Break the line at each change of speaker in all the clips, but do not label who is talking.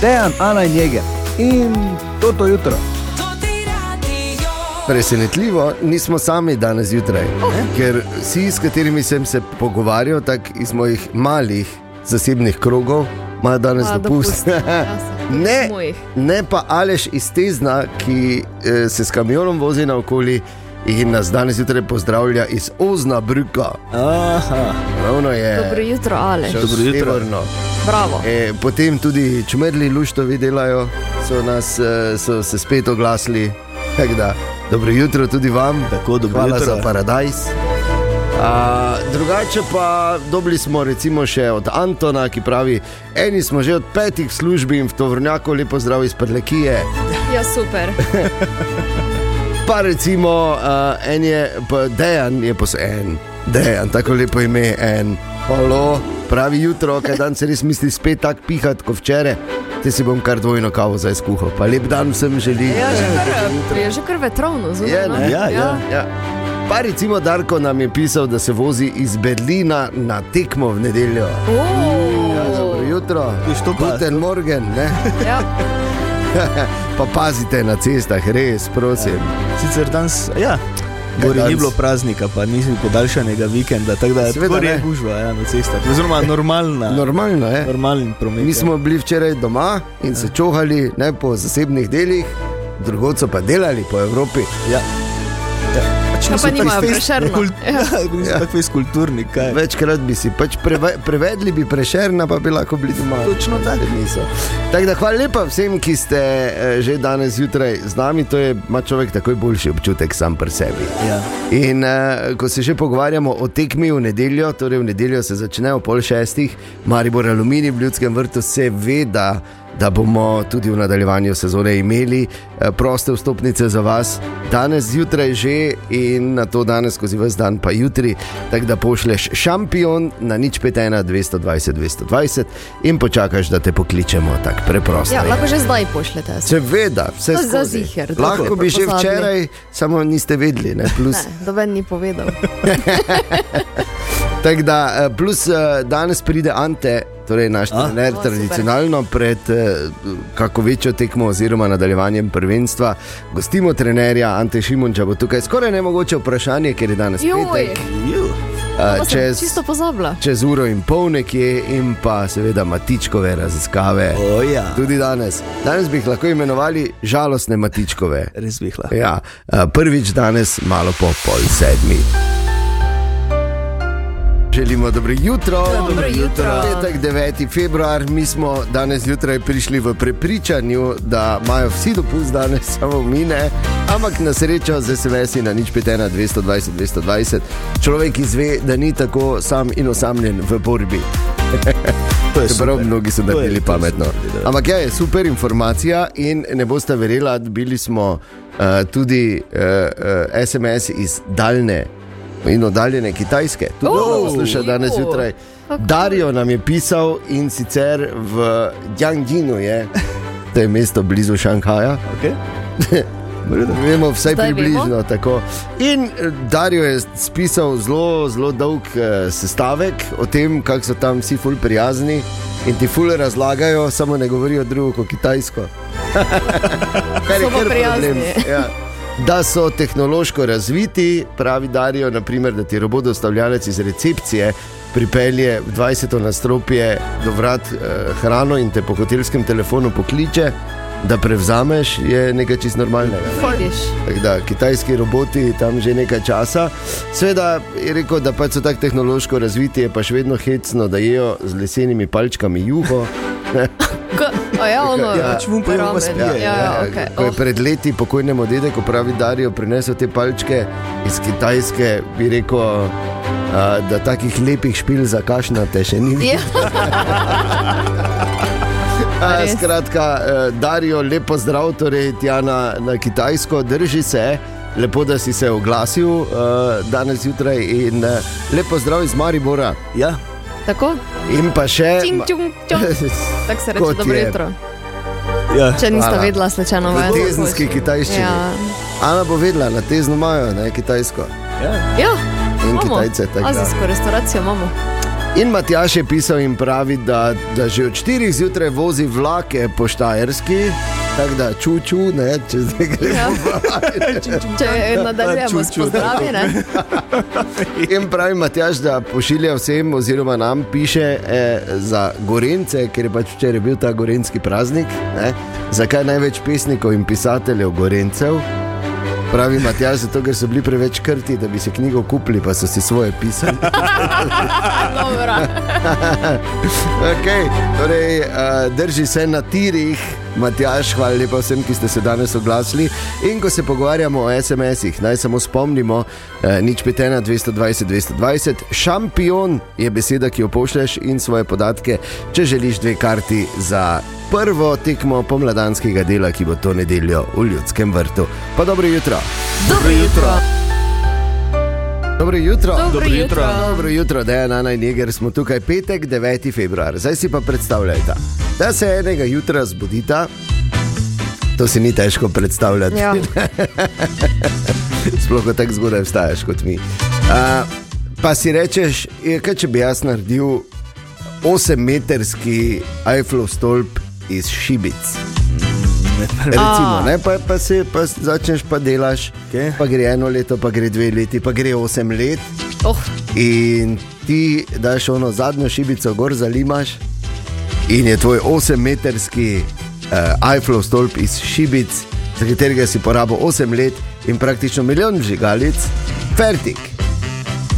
Dejan, Ana in Jeger in toto jutro.
Presenetljivo, nismo sami danes zjutraj,
Oh.
ker vsi, s katerimi sem se pogovarjal, tako iz mojih malih zasebnih krogov, imajo danes
A,
dopust.
dopust. Ja, se-
ne,
mojih.
ne pa Aleš iz Tezna, ki eh, se s kamionom vozi naokoli in nas danes zjutraj pozdravlja iz Oznabrika.
Aha,
Ravno je.
Dobro jutro, Aleš.
šel
Dobro jutro.
severno.
Bravo.
E, potem tudi čmrli, luštovi delajo, so, nas, eh, so se spet oglasili. Tako da, Dobro jutro tudi vam,
Tako, dobro
hvala
jutro.
za paradajz. A, drugače pa dobili smo recimo še od Antona, ki pravi: Eni smo že od petih v službi in v tovrnjaku lepo zdrav iz Prlekije.
Ja, super.
Pa recimo, uh, en je, pa dejan je pos en, dejan, tako lepo ime, en. Halo, pravi jutro, kaj dan se res misli spet tako pihati kot včeraj. Te si bom kar dvojno kavo zdaj skuhal, pa lep dan vsem želim.
Ja, že kar, je že kar vetrovno, zunaj.
Je,
no?
ne?
Ja, ja.
Ja. Pa recimo Darko nam je pisal, da se vozi iz Berlina na tekmo v nedeljo.
O,
Ja, dobro jutro,
Viš, to pa-
Guten Morgen, ne?
ja.
pa pazite na cestah, res, prosim.
sicer danes, ja.
Kaj
Gori ni
danes?
bilo praznika, pa nisem podaljšanega vikenda, tako da je
Seveda
gori je
ne.
gužva ja, na cestah. Oziroma normalna,
Normalno je.
normalen promet.
Mi
ja.
smo bili včeraj doma in se čohali ne, po zasebnih delih, drugot so pa delali po Evropi.
Ja. Ja. Pač
pa
niso tako
nimajo
fest-
Prešerna.
kult-
Ja.
Ja, niso
Ja.
tako fest kulturni, kaj.
Večkrat bi si pač preve, prevedli, bi prešerna, pa bi lahko bili doma.
Točno tako.
Ker niso. Tako da hvala lepa vsem, ki ste eh, že danes zjutraj z nami. To je ima človek takoj boljši občutek sam pri sebi.
Ja.
In uh, ko se že pogovarjamo o tekmi v nedeljo, torej v nedeljo se začne ob pol šestih, Maribor Alumini v Ljudskem vrtu, seveda, da bomo tudi v nadaljevanju sezone imeli eh, proste vstopnice za vas, danes zjutraj že in na to danes skozi vse dan, pa jutri, tako da pošleš šampion na nič 51 220 220 in počakaš, da te pokličemo tako preprosto.
ja,
je.
lahko že zdaj pošljete.
Seveda, vse
To je za
skozi.
ziher, tako
Lahko
je,
bi že
pozabili.
včeraj, samo niste vedeli. Ne, plus,
Ne, doben ni povedal.
Tako da, eh, plus eh, danes pride Ante, torej naš
A?
trener,
O, super.
tradicionalno pred eh, kako večjo tekmo oziroma nadaljevanjem prvenstva. Gostimo trenerja Ante Šimunča, bo tukaj skoraj nemogoče vprašanje, ker je danes
Joj,
petek.
Ju.
eh,
To sem
Čez,
čisto pozabila.
čez uro in pol nekje in pa seveda matičkove raziskave.
O, ja.
Tudi danes. Danes bi jih lahko imenovali žalostne matičkove.
Res bi lahko.
Ja, eh, prvič danes, malo po pol sedmi. Želimo dobro jutro.
Dobro jutro.
Petek 9. februar, mi smo danes zjutraj prišli v prepričanju, da imajo vsi dopust danes, samo mi ne. Ampak na srečo z SMS-i na nič 5, 220, 220. Človek izve, da ni tako sam in osamljen v borbi.
To je
Čeprav
super.
mnogi so
To je-
naredili
to je
pametno.
super, da.
Ampak ja, je super informacija in ne boste verjela, dobili smo uh, tudi uh, uh, SMS iz daljne in oddaljene Kitajske. Tudi
Oh,
oh, posluša danes
jo.
zjutraj.
Kako?
Darijo nam je pisal in sicer v Jianginu je, to je mesto blizu Šanghaja.
Okay.
Vemo, vsaj
Zdaj
približno tako. In eh, Dario je spisal zelo, zelo dolg eh, sestavek o tem, kako so tam vsi ful prijazni in ti ful razlagajo, samo ne govorijo drugo kot kitajsko. Kar
So pa prijazni.
Ja. Da so tehnološko razviti, pravi Dario, naprimer, da ti robot dostavljalec iz recepcije pripelje v 20. nadstropje do vrat eh, hrano in te po hotelskem telefonu pokliče, da prevzameš, je nekaj čist normalnega. ne?
Vidiš.
Tako Da, kitajski roboti tam že nekaj časa. Sveda je rekel, da pač so tako tehnološko razviti, je pa še vedno hecno, da jejo z lesenimi palčkami juho.
K- A ja, ono,
Ja,
pač vun pa jo
ramen.
spije,
Ja, ja, ja, okay.
Ko je pred leti pokojnemu dedeku pravi Darijo prinesel te palčke iz Kitajske, bi rekel, a, da takih lepih špil za kašnate še ni.
Ja.
A,
Res.
Skratka, eh, Darijo, lepo zdrav, torej tja na, na Kitajsko, drži se. Lepo, da si se oglasil uh, danes zjutraj in uh, lepo zdrav iz Maribora.
Ja.
Tako?
In pa še.
Čing, čung, čung. Tako se reče,
Kot
dobro
je.
jutro.
Ja.
Če niste
Hvala.
vedela, slečeno
V
vajo.
tezenski kitajščini.
Ja,
Ana bo vedela, na te znomajo, ne kitajsko.
Ja.
ja
In
imamo.
Kitajce, tako da.
Azijsko restavracijo imamo.
In Matjaš je pisal in pravi, da, da že od 4 zjutraj vozi vlake po Štajerski, tako da čuču, ne, če zdaj gremo.
Ja. Če nadaljujemo s
Čuču,
pozdravi, ne?
In pravi Matjaš, da pošilja vsem, oziroma nam piše eh, za Gorence, ker je pač včeraj bil ta gorenski praznik. Ne? Zakaj največ pesnikov in pisateljev Gorencev? Pravi Matjaš, zato ker so bili preveč krti, da bi se knjigo kupili, pa so si svoje pisali.
Dobro.
Okay, torej, uh, drži se na tirih, Matjaš, hvala lepa vsem, ki ste se danes oglasili. In ko se pogovarjamo o SMS-ih, naj samo spomnimo, uh, nič petena 220, 220, šampion je beseda, ki jo pošleš in svoje podatke, če želiš dve karti za prvo tekmo pomladanskega dela, ki bo to nedeljo v Ljudskem vrtu. Pa dobro jutro.
Dobro jutro.
Dobro jutro.
Dobro jutro.
Dobro jutro, da je na najnižji, smo tukaj petek, 9. februar. Zdaj si pa predstavljajte, da se enega jutra zbudita, to si ni težko predstavljati.
Ja.
Sploh ko tako zgodaj vstaješ kot mi. Uh, pa si rečeš, "Je, kaj če bi jaz naredil 8-metrski Eifflov stolp iz šibic. Recimo,
A.
ne, pa, pa, se, pa začneš pa delaš,
Okej.
pa gre eno leto, pa gre dve leti, pa gre osem let
Oh,
in ti daš ono zadnjo šibico gor, zalimaš in je tvoj 8-metrski uh, iPhone stolp iz šibic, za katerega si porabil 8 let in praktično milijon žigalic, fertik.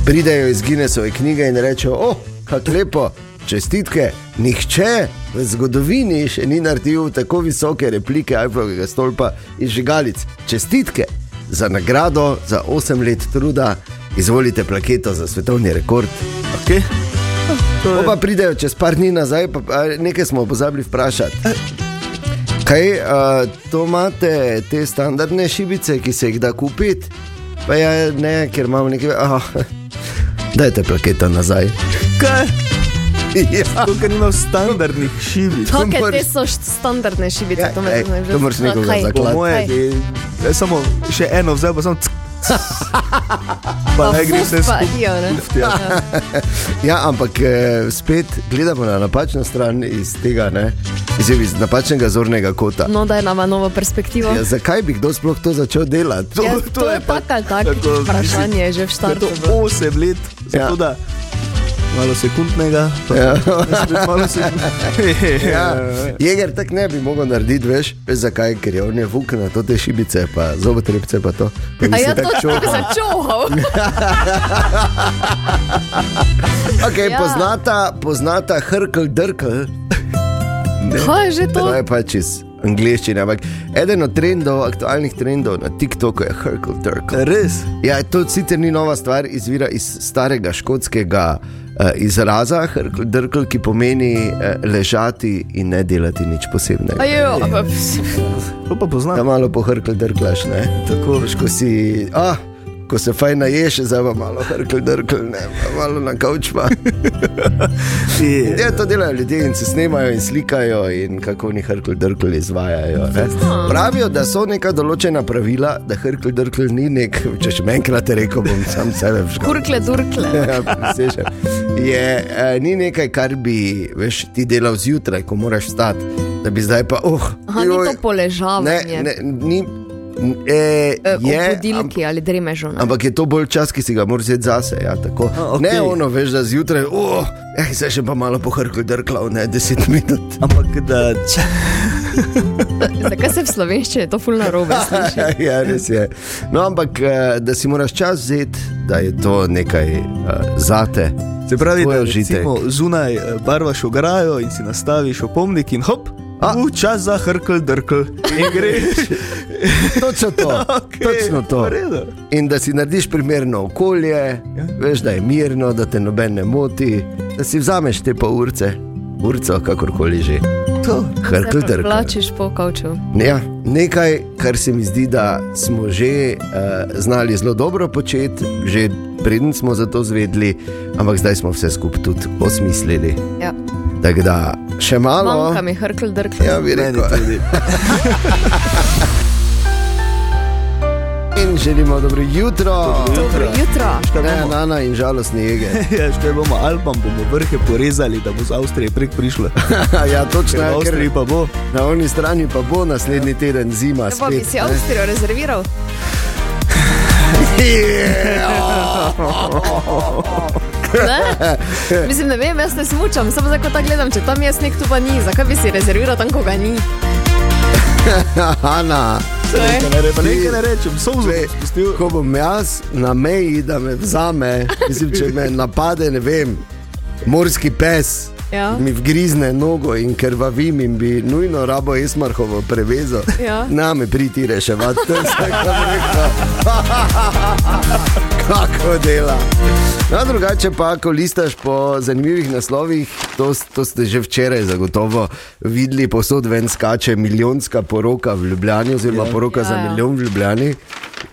Pridejo iz Guinnessove knjige in rečejo, oh, kako lepo, čestitke, nihče v zgodovini še ni naredil tako visoke replike iPhoneovega stolpa iz žigalic. Čestitke za nagrado za 8 let truda, izvolite plaketo za svetovni rekord.
Okay.
Pol Pa pridejo čez par dni nazaj, pa, a, nekaj smo pozabili vprašati. Kaj uh, to imate, te standardne šibice, ki se jih da kupiti? Pa ja, ne, ker imamo nekaj. Aha, dajte plaketo nazaj.
Kaj?
Ja.
Tukaj nimam standardnih šivic.
To
kakšne te
moraš-
so št- standardne šibice,
Ja,
to me
ej,
zanima.
to moraš nekoga
Kaj?
zaklati.
Po moje
Kaj?
bi e, samo še eno vzel, pa samo ck.
Pa
Pa naj gre vse
fuf, pa
skupaj.
jo, ne.
Ja.
ja, ampak eh, spet gledamo na napačno stran iz tega, ne? Mislim, iz napačnega zornega kota.
No, daj nama novo perspektivo.
Ja, zakaj bi kdo sploh to začel delati?
Ja, to je pa tako, tako
mislim,
vprašanje je že v
da je
štartu.
To
bilo.
8 let,
Ja.
zato da malo sekundnega. Pa,
Ja.
spet malo sekundnega.
Ja, Jeger tak ne bi mogel narediti, veš, veš zakaj, ker je on je vuk na to te šibice, pa zobotrebce, pa to. Pa bi
A
se
ja, to
tako
je
čuval.
tako začoval.
Okay,
Ja.
ja. Poznata, poznata hrkl, drkl,
Kaj je že to?
to je pač iz angliščine, ampak eden od trendov, aktualnih trendov na TikToku je hrkl, drkl.
Res.
Ja, to sicer ni nova stvar, izvira iz starega škotskega eh, izraza, hrkl, drkl, ki pomeni eh, ležati in ne delati nič posebnega.
Ajo, pa,
To pa
Da
poznam.
Ja, malo pohrkl, drklaš, ne? Tako, veš, ko si, ah, ko se fajn naješ, zdaj pa malo hrkl, drkl, ne, pa malo na kavč pa.
Je.
Ja, to delajo ljudje in se snimajo in slikajo in kako oni hrkl, drkl izvajajo. Ne?
no.
Pravijo, da so neka določena pravila, da hrkl, drkl ni nek, če še enkrat rekel, bom sam sebe vžgal.
kurkle, durkle.
Ja, prisežem. je, eh, ni nekaj, kar bi veš, ti delal zjutraj, ko moraš stati, da bi zdaj pa, oh,
Aha, ni to poležavanje.
Ne, ne, ni, n- e,
Eh, ob
je, amp-
budilki ali dremežu. ne.
ampak je to bolj čas, ki si ga moraš vzeti zase. Ja, tako.
A, okej.
Ne, ono veš, da zjutraj, oh, eh, zdaj še pa malo pohrkl, drklav, ne 10 minut.
Ampak da če.
Zakaj se v slovenščini je to fulno robe?
ja, res je. No, ampak eh, da si moraš čas vzeti, da je to nekaj uh, zate.
Se pravi,
Tvoj
da
užitek.
recimo, zunaj eh, barvaš ograjo in si nastaviš opomnik in hop,
A.
v čas za hrkl, drkl. In greš.
Točno to, okay, točno to.
v redu.
In da si narediš primerno okolje, ja. veš, da je mirno, da te noben ne moti, da si vzameš te pa urce, urco, kakorkoli že.
To.
Hrkl, drkl.
Plačeš po kavču.
Ja, nekaj, kar se mi zdi, da smo že uh, znali zelo dobro početi, že preden smo za to zvedeli, ampak zdaj smo vse skupaj tudi osmislili.
Ja.
Tako da še malo,
Manjka mi hrkl, drkle.
ja, bi
Meni
rekel.
tudi.
In dan, želimo dobro jutro.
Dobro jutro.
Škaj
Ne,
bomo,
nana in žalostni jege.
ja, škaj bomo Alpam bomo vrhe porezali, da bo z Avstrije prek prišlo.
ja, točno,
Ker v
ja, ker
Avstriji pa bo.
na oni strani pa bo naslednji teden zima.
Ne bo Ja, bi
Spet,
si Avstrijo rezerviral. Ne? Mislim, ne vem, jaz ne smučam, samo zdaj, ko tako gledam, če tam jaz nek tu pa ni, zakaj bi si rezerviral tam, ko ga ni?
Ja, Ana,
Kaj?
Nekaj ne rečem, nekaj ne rečem, solzo
Glej,
bom spustil.
ko bom jaz na meji, da me vzame, mislim, če me napade, ne vem, morski pes.
Ja.
Mi vgrizne nogo in krvavim, in bi nujno rabo esmarhovo prevezo.
Ja.
Na me priti reševati, to je vsak dan rekel. Kako dela. No, drugače pa, ko listaš po zanimivih naslovih, to, to ste že včeraj zagotovo videli, posod ven skače milijonska poroka v Ljubljani, oziroma poroka
Ja,
za
ja.
milijon v Ljubljani,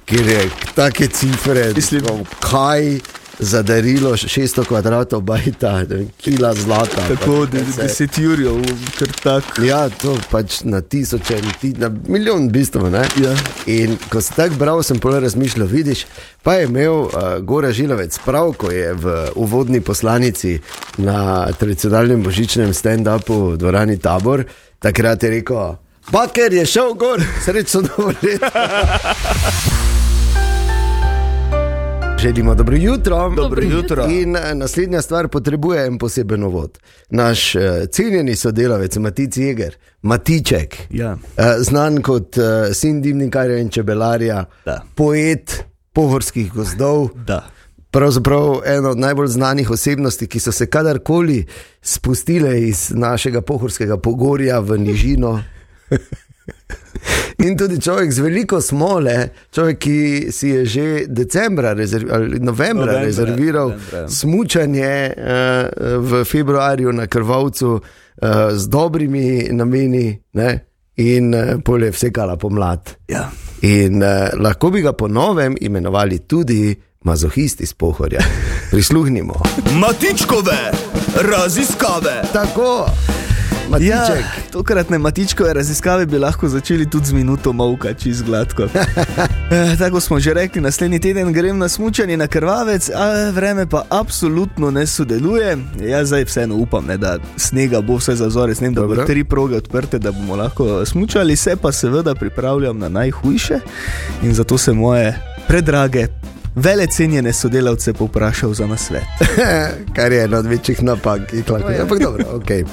kjer je take cifre,
Mislim-
tako, kaj za darilo 600 kvadratov bajta, ne vem, kila zlata.
Tako,
pa vse.
10 jurjev, črtak.
Ja, to pač na tisoče, na ti- na milijon v bistvu. ne.
Ja.
In ko sem tako bral, sem pol razmišljal, vidiš, pa je imel uh, Gora Žilovec prav, ko je v uvodni poslanici na tradicionalnem božičnem stand-upu v dvorani Tabor, takrat je rekel, Baker je šel gor, srečno novo leto. Želimo dobro jutro.
Dobro jutro.
In eh, naslednja stvar potrebuje en poseben uvod. Naš eh, cenjeni sodelavec, Matic Jeger, Matiček,
Ja.
eh, znan kot eh, sin dimnikarja in čebelarja,
Da.
poet pohorskih gozdov.
Da.
Pravzaprav ena od najbolj znanih osebnosti, ki so se kadarkoli spustile iz našega pohorskega pogorja v nižino. In tudi človek z veliko smole, človek, ki si je že decembra, rezerv, ali novembra, novembra
Novembra,
rezerviral novembra.
novembra.
smučanje eh, v februarju na Krvavcu eh, z dobrimi nameni, ne? in eh, pol je vsekala pomlad.
Ja.
In uh, lahko bi ga po novem imenovali tudi mazohisti iz Pohorja. Prisluhnimo.
Matičkove raziskave.
Tako,
Ja,
Matiček.
tokratne matičkove raziskave bi lahko začeli tudi z minuto molka, čez gladko. Eh, Tako smo že rekli, naslednji teden grem na smutanje na krvavec, a vreme pa absolutno ne sodeluje. Jaz zdaj vseeno upam, ne, da snega bo vse za zore, snem, da bodo
Dobro.
tri proge odprte, da bomo lahko smutali. Se pa seveda pripravljam na najhujše in zato se moje predrage, vele cenjene sodelavce povprašal za nasvet.
Ja. Kar je ena od večjih napak, ki jih lahko
To je.
naredimo. Ampak dobro, okay.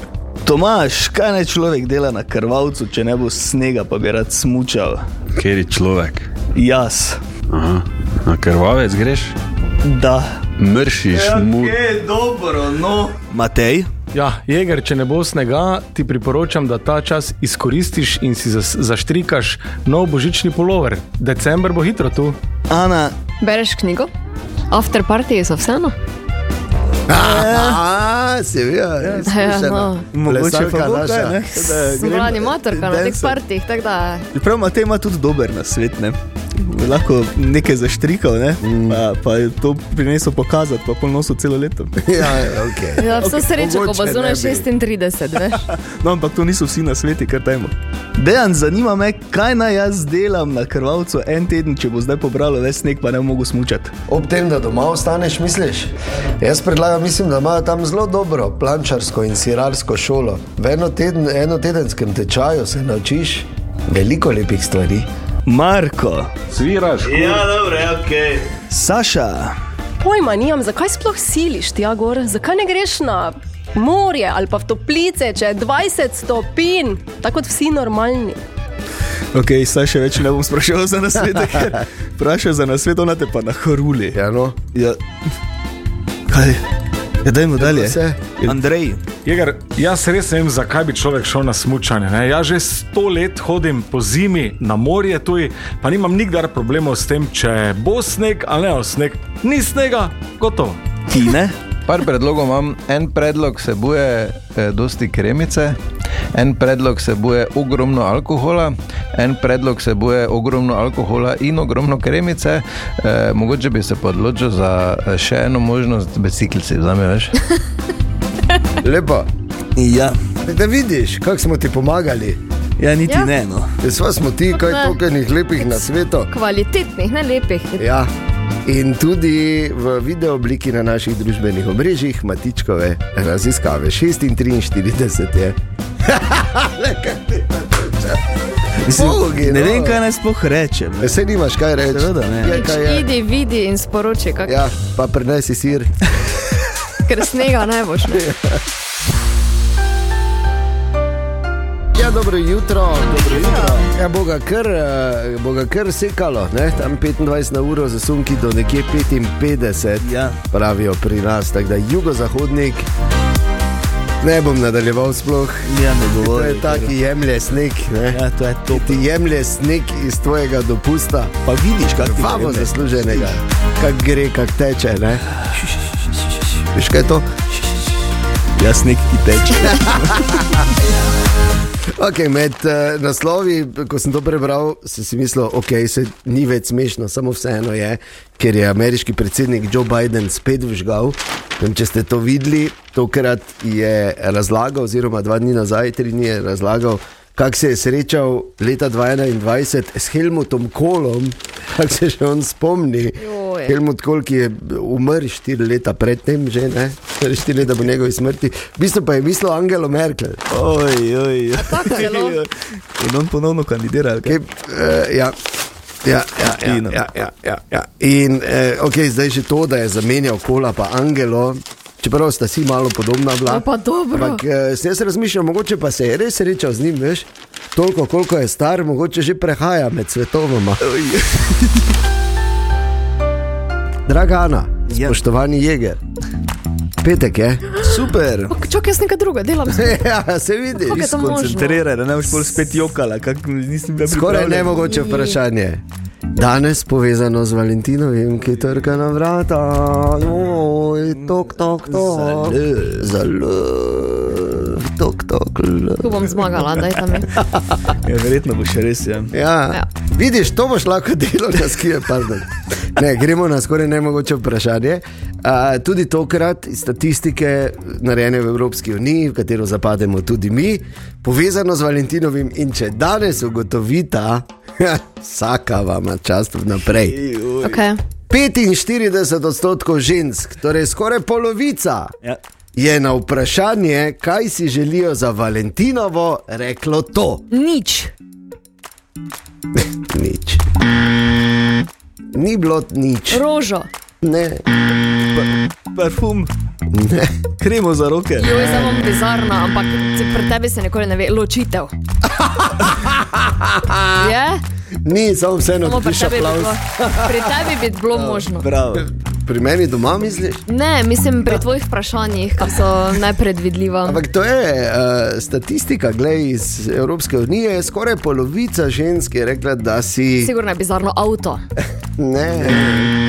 Tomaš, kaj naj človek dela na krvavcu, če ne bo snega, pa bi rad smučal?
Ker je človek,
Jaz,
Aha. na krvavec greš,
da.
mršiš mu.
dobro, no. Matej,
Ja, Jeger, če ne bo snega, ti priporočam, da ta čas izkoristiš in si zas- zaštrikaš nov božični polover. December bo hitro tu.
Ana,
Bereš knjigo? After party so vseeno?
A, se ve, Eh. ja,
no.
mogoče pa bo kaj, ne?
Eh,
Sem bila animatorka na teh partih, tako da
Prav, Matej ima tudi dober nasvet, ne? Bi Lahko nekaj zaštrikal, ne? Pa, pa je to prinesel pokazati, pa polnosil celo leto.
Ja, okay.
ja, vso okay, srečo, ko
mogoče
bo
ne
zunaj
bi.
36, veš.
No, ampak to niso vsi na svetu, kar tajmo. Dejan, zanima me, kaj naj jaz delam na krvavcu en teden, če bo zdaj pobralo ves sneg, pa ne mogo smučati.
Ob tem, da doma ostaneš, misliš? Jaz predlagam, mislim, da imajo tam zelo dobro plančarsko in sirarsko šolo. V enoteden, enotedenskem tečaju se naučiš veliko lepih stvari.
Marko,
Sviraš, ja.
Saša,
Pojma nimam, zakaj sploh siliš ti, Agor? Zakaj ne greš na morje ali pa v toplice, če je 20 stopinj, tako kot vsi normalni?
ok, Saša več ne bom sprašal za nasvet, ker vprašaj za nasvet, ona te pa na horuli.
Ja, no.
Ja. Kaj? Ja, dajmo dalje.
vse.
Andrej,
Jeger, jaz res ne vem, zakaj bi človek šel na smutanje. Ne? Jaz že sto let hodim po zimi na morje, tuj, pa nimam nikdar problemov s tem, če bo sneg ali ne bo sneg. Ni snega, gotovo.
ti ne?
Par predlogov imam. En predlog vsebuje eh, dosti kremice, en predlog vsebuje ogromno alkohola, en predlog vsebuje ogromno alkohola in ogromno kremice. Eh, mogoče bi se pa odločil za eh, še eno možnost, biciklice, vzameš.
Lepo.
Ja.
Da vidiš, kako smo ti pomagali.
Ja, niti
Ja.
ja. ne. No.
Sva smo ti, kaj
Ne.
tokenih lepih na svetu.
Kvalitetnih, ne lepih.
Ja. In tudi v video obliki na naših družbenih omrežjih, matičkove raziskave 46 je. Le, kaj ti pa teče?
Mislim,
Bogi,
ne
no.
vem, kaj naj sploh rečem.
Saj nimaš kaj reči.
Seveda ne.
Je, kaj je.
Idi, vidi in sporoči, kak, ja.
Ja, pa prenesi sir.
ker snega ne boš. Ne.
Ja, dobro jutro. Dobro jutro. Ja, boga kar, eh, bo ga kar sekalo, ne? tam 25 na uro za sunki do nekje 55,
Ja.
pravijo pri nas, tako da jugozahodnik. Ne bom nadaljeval sploh.
Ja, ne
To
govori.
je taki jemlje sneg, ne?
Ja, to je to.
Ti jemlje sneg iz tvojega dopusta,
Pa vidiš, kako ti
vabo
grem, ne.
zasluženega, kak gre, kak teče, ne? Veš kaj je to?
Jaz nek ki teče.
Okay, med uh, naslovi, ko sem to prebral, sem si mislil, da okay, ni več smešno, samo vseeno je, ker je ameriški predsednik Joe Biden spet vžgal. Vem, če ste to videli, tokrat je razlagal, oziroma dva dni nazaj, tri dni je razlagal, kako se je srečal leta 2021 s Helmutom Kolom, kako se še on spomni.
Joj.
Helmut Kohl, ki je umrl štiri leta predtem, že ne, Torej štiri leta po njegovi smrti, v bistvu pa je mislil Angelo Merkel.
Oj, oj,
tako
no.
no. celo?
oj. In on ponovno kandidira. ali kaj?
Kep, uh, ja. Ja, ja, ja,
In-
ja, ja, ja, ja. In eh, okay, zdaj že to, da je zamenjal kola, pa Angelo, čeprav sta si malo podobna bila.
Ja, pa dobro.
Ampak eh, sem jaz razmišljal, mogoče pa se je res srečal z njim, veš, toliko koliko je star, mogoče že prehaja med svetovoma. Draga Ana,
Ja.
spoštovani Jeger, petek je.
Super.
Čak, jaz nekaj druga delam.
ja, se vidi.
Kako je to možno?
Koncentriraj, da ne boš pol spet jokala, kak nisem bila
Skoraj
pripravljena.
nemogoče vprašanje. Danes povezano z Valentinovim, ki trka na vrata, oj, tok, tok, tok, zelo, tok, tok. l.
Tu bom zmagala, daj tam.
Ja, verjetno boš res, ja.
Ja.
Ja.
Vidiš, to boš lahko delal, da skije, pardon. Ne, gremo na skoraj nemogoče vprašanje. A, tudi tokrat iz statistike, narejene v Evropski uniji, v katero zapademo tudi mi, povezano z Valentinovim. In če danes ugotovita, ja, vsaka vam čast naprej.
Okay.
45 odstotkov žensk, torej skoraj polovica,
ja.
je na vprašanje, kaj si želijo za Valentinovo, reklo to.
Nič.
Nič. Ni bilo nič,
Rožo.
ne,
Parfum,
ne.
kremo za roke.
Ja.
Joj, zdaj bom bizarna, ampak ti- pri tebi se nikoli ne ve. Ločitev. Je?
ni, samo vseeno,
Samo
da
pri
piše
tebi bi
aplaus.
bilo, pri tebi bi bilo možno.
Bravo.
Ja, Pri meni doma misliš?
Ne, mislim pri tvojih vprašanjih, ki so nepredvidljiva.
Ampak to je uh, statistika, glej, iz Evropske unije, skoraj polovica žensk je rekla, da si.
Sigurno je bizarno avto.
Ne,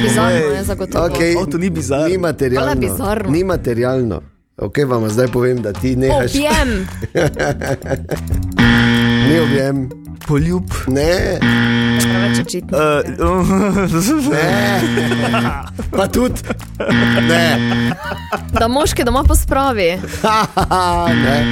Bizarno je zagotovo.
okay,
O, to ni bizarno.
Ni materialno.
Hvala, bizarno.
Ni materialno. Okay, vam zdaj povem, da ti nehaš.
Objem.
Ni objem,
Poljub.
ne,
Preveč očitno.
Eh, Uh,
ne. pa tudi, ne.
Da moški doma pospravi.
ne.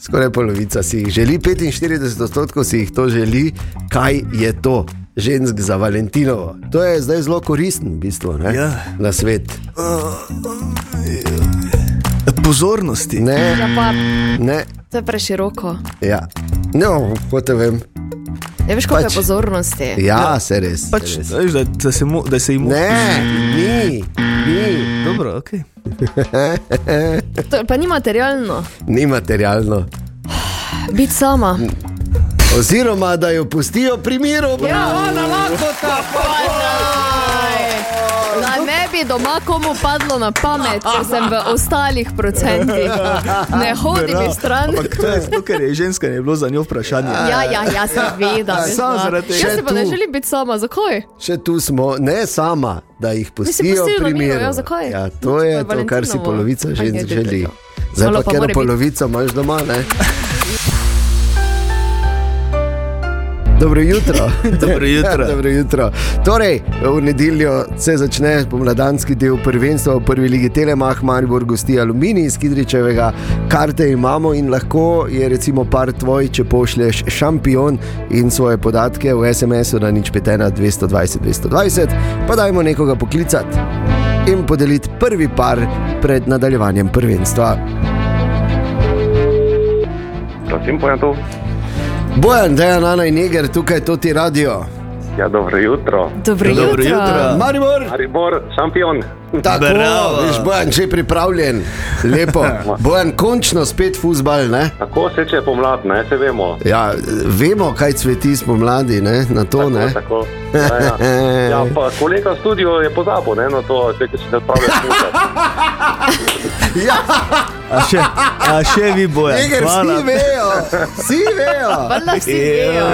Skoraj polovica si jih želi, 45 odstotkov si jih to želi, kaj je to. Žensk za Valentinovo. To je zdaj zelo koristen, v bistvu, ne?
Ja.
na svet.
pozornosti.
Ne,
Ja, pa
ne,
to je preširoko.
ja. No, kot vem.
Je veš, koliko
Pač.
je pozornosti.
Ja, se res.
Pač,
se res.
veš, da, da, se mo, da se jim
Ne, ni, ni.
Dobro, okay.
To, pa ni materialno.
ni materialno.
Biti sama.
Oziroma, da jo pustijo pri miru. Ja, ona lahko tako.
Da ne bi doma komu padlo na pamet, ker sem v ostalih procentih. Ne hodi mi stran.
Ampak to je zato, ker je ženska, ne bilo za njo vprašanje.
Ja, ja, ja, seveda. veš,
Samo
da.
zaradi tega.
Jaz
Še
se pa ne
tu.
želim biti sama, zakaj?
Še tu smo, ne sama, da jih pustijo
pustili na
pri
miru,
miru.
ja, zakaj?
Ja, to je to, kar si
Valentinovo.
polovica
Aj,
žensk
je,
želi.
je, je,
Zdaj
Malo
pa,
pa
ker
mora biti.
polovico imaš doma, ne? Dobro jutro. Ja,
Dobro jutro.
Dobro jutro. Torej, v nedeljo se začne pomladanski del prvenstva v prvi ligi Telemah, Maribor gosti Aluminij iz Kidričevega. Karte imamo in lahko je recimo par tvoj, če pošlješ šampion in svoje podatke v SMS-u na nič petena 220 220, pa dajmo nekoga poklicati in podeliti prvi par pred nadaljevanjem prvenstva.
Prosim, pojem tu.
Bojan, Dejan, Ana in Neger, tukaj to ti radio.
Ja, dobro jutro.
Dobro jutro.
Dobro jutro.
Maribor!
Maribor, šampion.
Tako,
Bravo.
veš, Bojan, že pripravljen, lepo. Bojan, končno spet fusbal. Ne?
Tako se če pomlad, ne, se vemo.
Ja, vemo, kaj cveti spomladi, ne? na to. Ne?
Tako, tako. Ja, ja. ja, pa kolega v studiu je pozabil ne, na to, zdaj, ko si se odpravljal slušati.
A še, a še vi boje.
Jeger, vsi vejo, vsi vejo.
Valjda vsi vejo.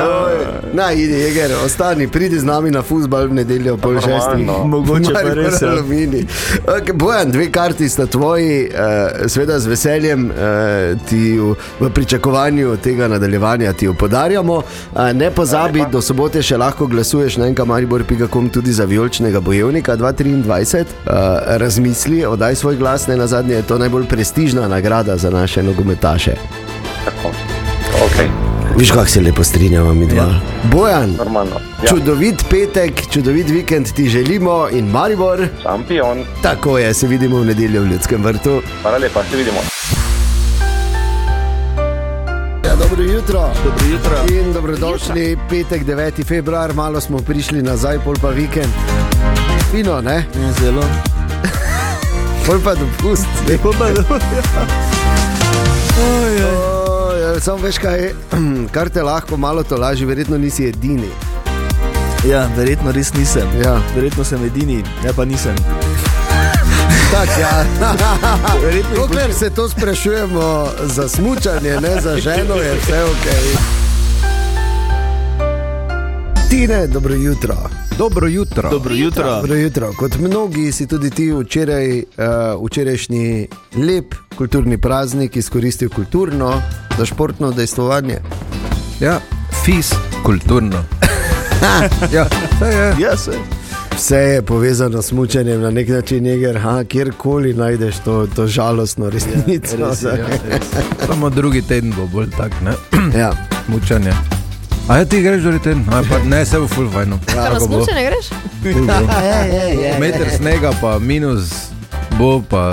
Na, idi, jeger, ostani, pridi z nami na fusbal v nedeljo ob pol šestih.
Normalno.
Mogoče pa res. ja.
Alumini. Okay, Bojan, dve karti sta tvoji, uh, seveda z veseljem uh, ti v, v pričakovanju tega nadaljevanja ti jo podarjamo. Uh, ne pozabi, do sobote še lahko glasuješ na enkamaribor.com tudi za vijoličnega bojevnika 2023. Uh, razmisli, oddaj svoj glas, ne na zadnje je to najbolj prestižna nagrada za naše nogometaše.
Tako. Ok,
Viš, kako se lepo strinjamo mi dva. Ja. Bojan,
normalno.
ja.
Ja,
čudovit petek, čudovit vikend ti želimo in Maribor.
šampion,
Tako je, se vidimo v nedeljo v Ljudskem vrtu.
hvala lepa, se vidimo.
Ja, dobro jutro. Dobro jutro. In dobrodošli jutro. petek 9. februar, malo smo prišli nazaj, pol pa vikend. Fino, ne?
Ja, Zelo.
Pol pa dopust.
Lepo pa
Ja.
dobro.
Oj, Sam veš kaj, kar te lahko malo to laži, verjetno nisi edini.
Ja, verjetno res nisem.
Ja.
Verjetno sem edini, ja pa nisem.
Tako, ja.
Verjetno jih bo-
Dokler se to sprašujemo za smutanje, ne za ženo, je vse ok. Tine, dobro jutro.
Dobro jutro.
Dobro jutro.
Dobro jutro. Kot mnogi si tudi ti včeraj, uh, včerajšnji lep kulturni praznik izkoristil kulturno za športno dejstvovanje.
Ja, fis, kulturno. ja, saj je.
Ja, se.
Vse je povezano s mučenjem na nek način, jeger, ha, kjerkoli najdeš to, to žalostno resnico. Ja, res,
Samo drugi teden bo bolj tak, ne?
ja.
Mučanje. A ja ti greš drugi teden? A, pa, ne, se bo full fajno.
Ja.
Kaj na smuče ne greš?
Meter snega pa minus bo pa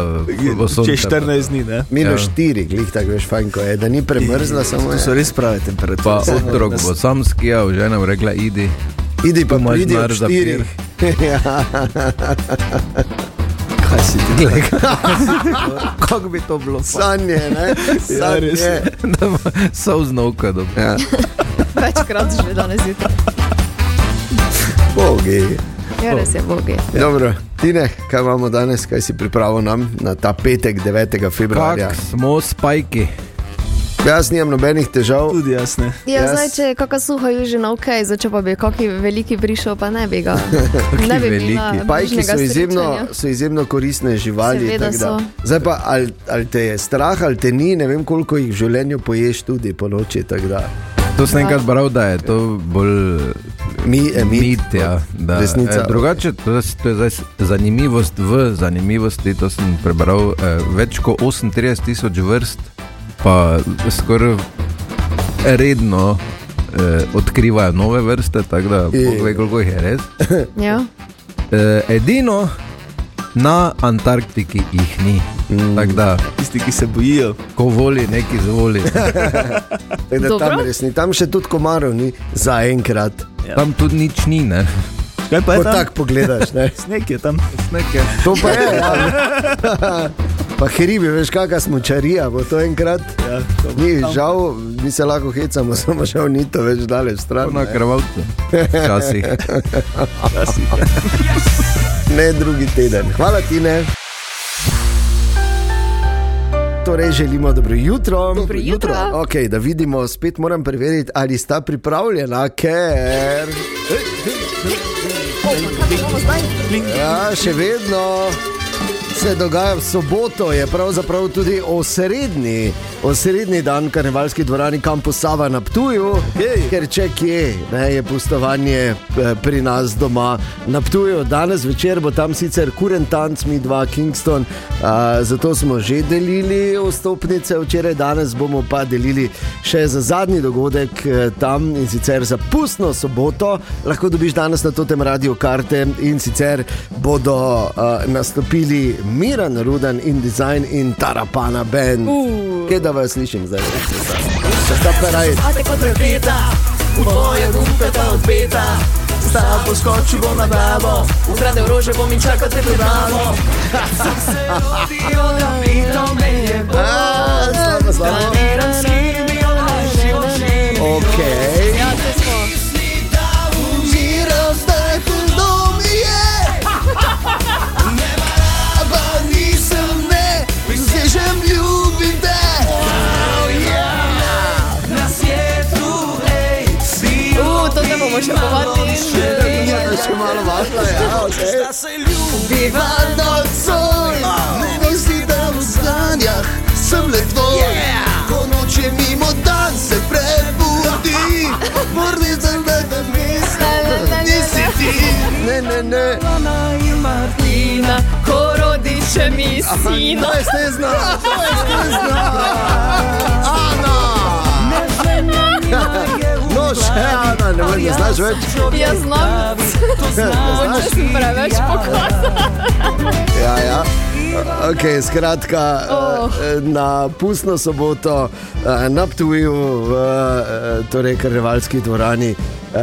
bo sonce.
Če 14 dni, ne?
Minus
Ja.
4, ja. glih tako veš, fajn, ko je, da ni premrzla, samo
To
je.
so res prave temperature.
Pa otrok bo sam skijal, žena mu rekla idi.
Idi pa
Tu imaš
pridi ob
denar za
štirih. ja.
Kaj si ti?
Glej,
Kako bi to bilo?
Sanje,
Ja,
ne? Sanje.
res.
Ja,
da bo Solzna oka dobro.
ja.
Večkrat že danes zjutraj.
Bogi.
Ja, res je, bogi.
Dobro, Tine, kaj imamo danes, kaj si pripravil nam na ta petek 9. februarja?
Kak smo spajki.
Jaz nimam nobenih težav.
Tudi jasne.
Ja,
Jaz-
yes. zdaj, če je kakšna suha južina, ok, zdaj če pa bi kaki veliki prišel, pa ne bi ga. ne bi bila
veliki?
Pajki
bližnjega
so izjemno,
srečanja.
so izjemno koristne živali.
Seveda
tako da.
so.
Zdaj pa, ali, ali te je strah, ali te ni, ne vem koliko jih v življenju poješ tudi po noči. tako da.
To sem enkrat bral, da je to bolj
Mi, eh, mit,
mit, ja, da,
resnica.
Eh, drugače, to, je- to je zdaj s- zanimivost v zanimivosti. To sem prebral eh, več kot 38 tisoč vrst, pa skoraj redno eh, odkrivajo nove vrste, tako da
Je.
poglej, koliko jih je res.
Ja.
Eh, edino na Antarktiki jih ni. Mm. Tako da,
Tisti, ki se bojijo.
ko voli, neki zvoli.
Tako da Tam,
Dobro.
res ni. tam še tudi komarov ni zaenkrat.
Ja. Tam tudi nič ni, ne.
Kaj pa
Ko
je tam?
tako pogledaš, ne?
Sneg je tam.
Sneke.
to pa je. Ja. Pa hribi, veš, kakšna smočarija bo to enkrat.
Ja, to bo
Ni
tam.
žal, mi se lahko hecamo, samo žal ni to več daleč stran.
Na krvavcu. Včasih.
Ne drugi teden. Hvala ti, ne. Torej, želimo dobro jutro. Dobro
jutro.
Okay, da vidimo, spet moram preveriti, ali sta pripravljena, ker. Ja, še vedno se dogaja v soboto, je pravzaprav tudi osrednji, osrednji dan karnevalski dvorani Campus Sava na Ptuju, Jej. ker če kje ne, je pustovanje eh, pri nas doma na Ptuju. Danes večer bo tam sicer Kurentanc, mi dva Kingston, a, zato smo že delili vstopnice, včeraj, danes bomo pa delili še za zadnji dogodek eh, tam in sicer za pustno soboto. Lahko dobiš danes na tem radiju karte in sicer bodo uh, nastopili Miren Rudan in Design in Tarapana Ben. Uh. Kje da vas slišim zdaj? Se sta peraj. Slabo, slabo. Ok.
Ja, se smo.
Miren, zdaj tu dom je. Ne maraba nisem, ne, zdaj že ljubim te.
Uh, to ne bomo še povadili.
Ja, še malo vašla je. Ja, okay. Sta se ljubiva nocoj, ne misli, da v sanjah sem le tvoj. Ko noč je mimo dan se prebudi, morni sem da te misli, nisi ti. Ne, ne, ne.
Ana in Martina, ko rodi še mi sina.
Naj se zna, naj se zna. Ana. No, še Ana, ne vem, ne znaš več.
Jaz znam,
eh,
mogoče sem preveč pokazal.
Ja, ja. Okay, skratka, oh. na pustno soboto eh, na Ptuju, v eh, torej karnevalski dvorani, eh,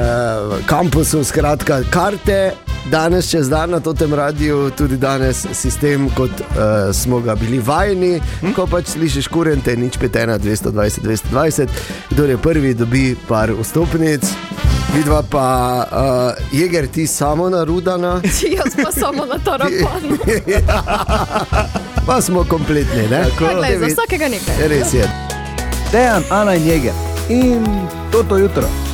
v kampusu, skratka, karte. Danes, čez dan na tem radiju, tudi danes sistem, kot uh, smo ga bili vajeni, hm? ko pač slišiš kurente, nič petena, 220, 220, kdo je prvi, dobi par vstopnic, vidva pa uh, jeger ti samo narudana.
Jaz pa samo na to rapano.
Pa smo kompletni, ne?
Poglej, za vsakega nekaj.
Res je.
Dejan, Ana in Jeger. In to jutro.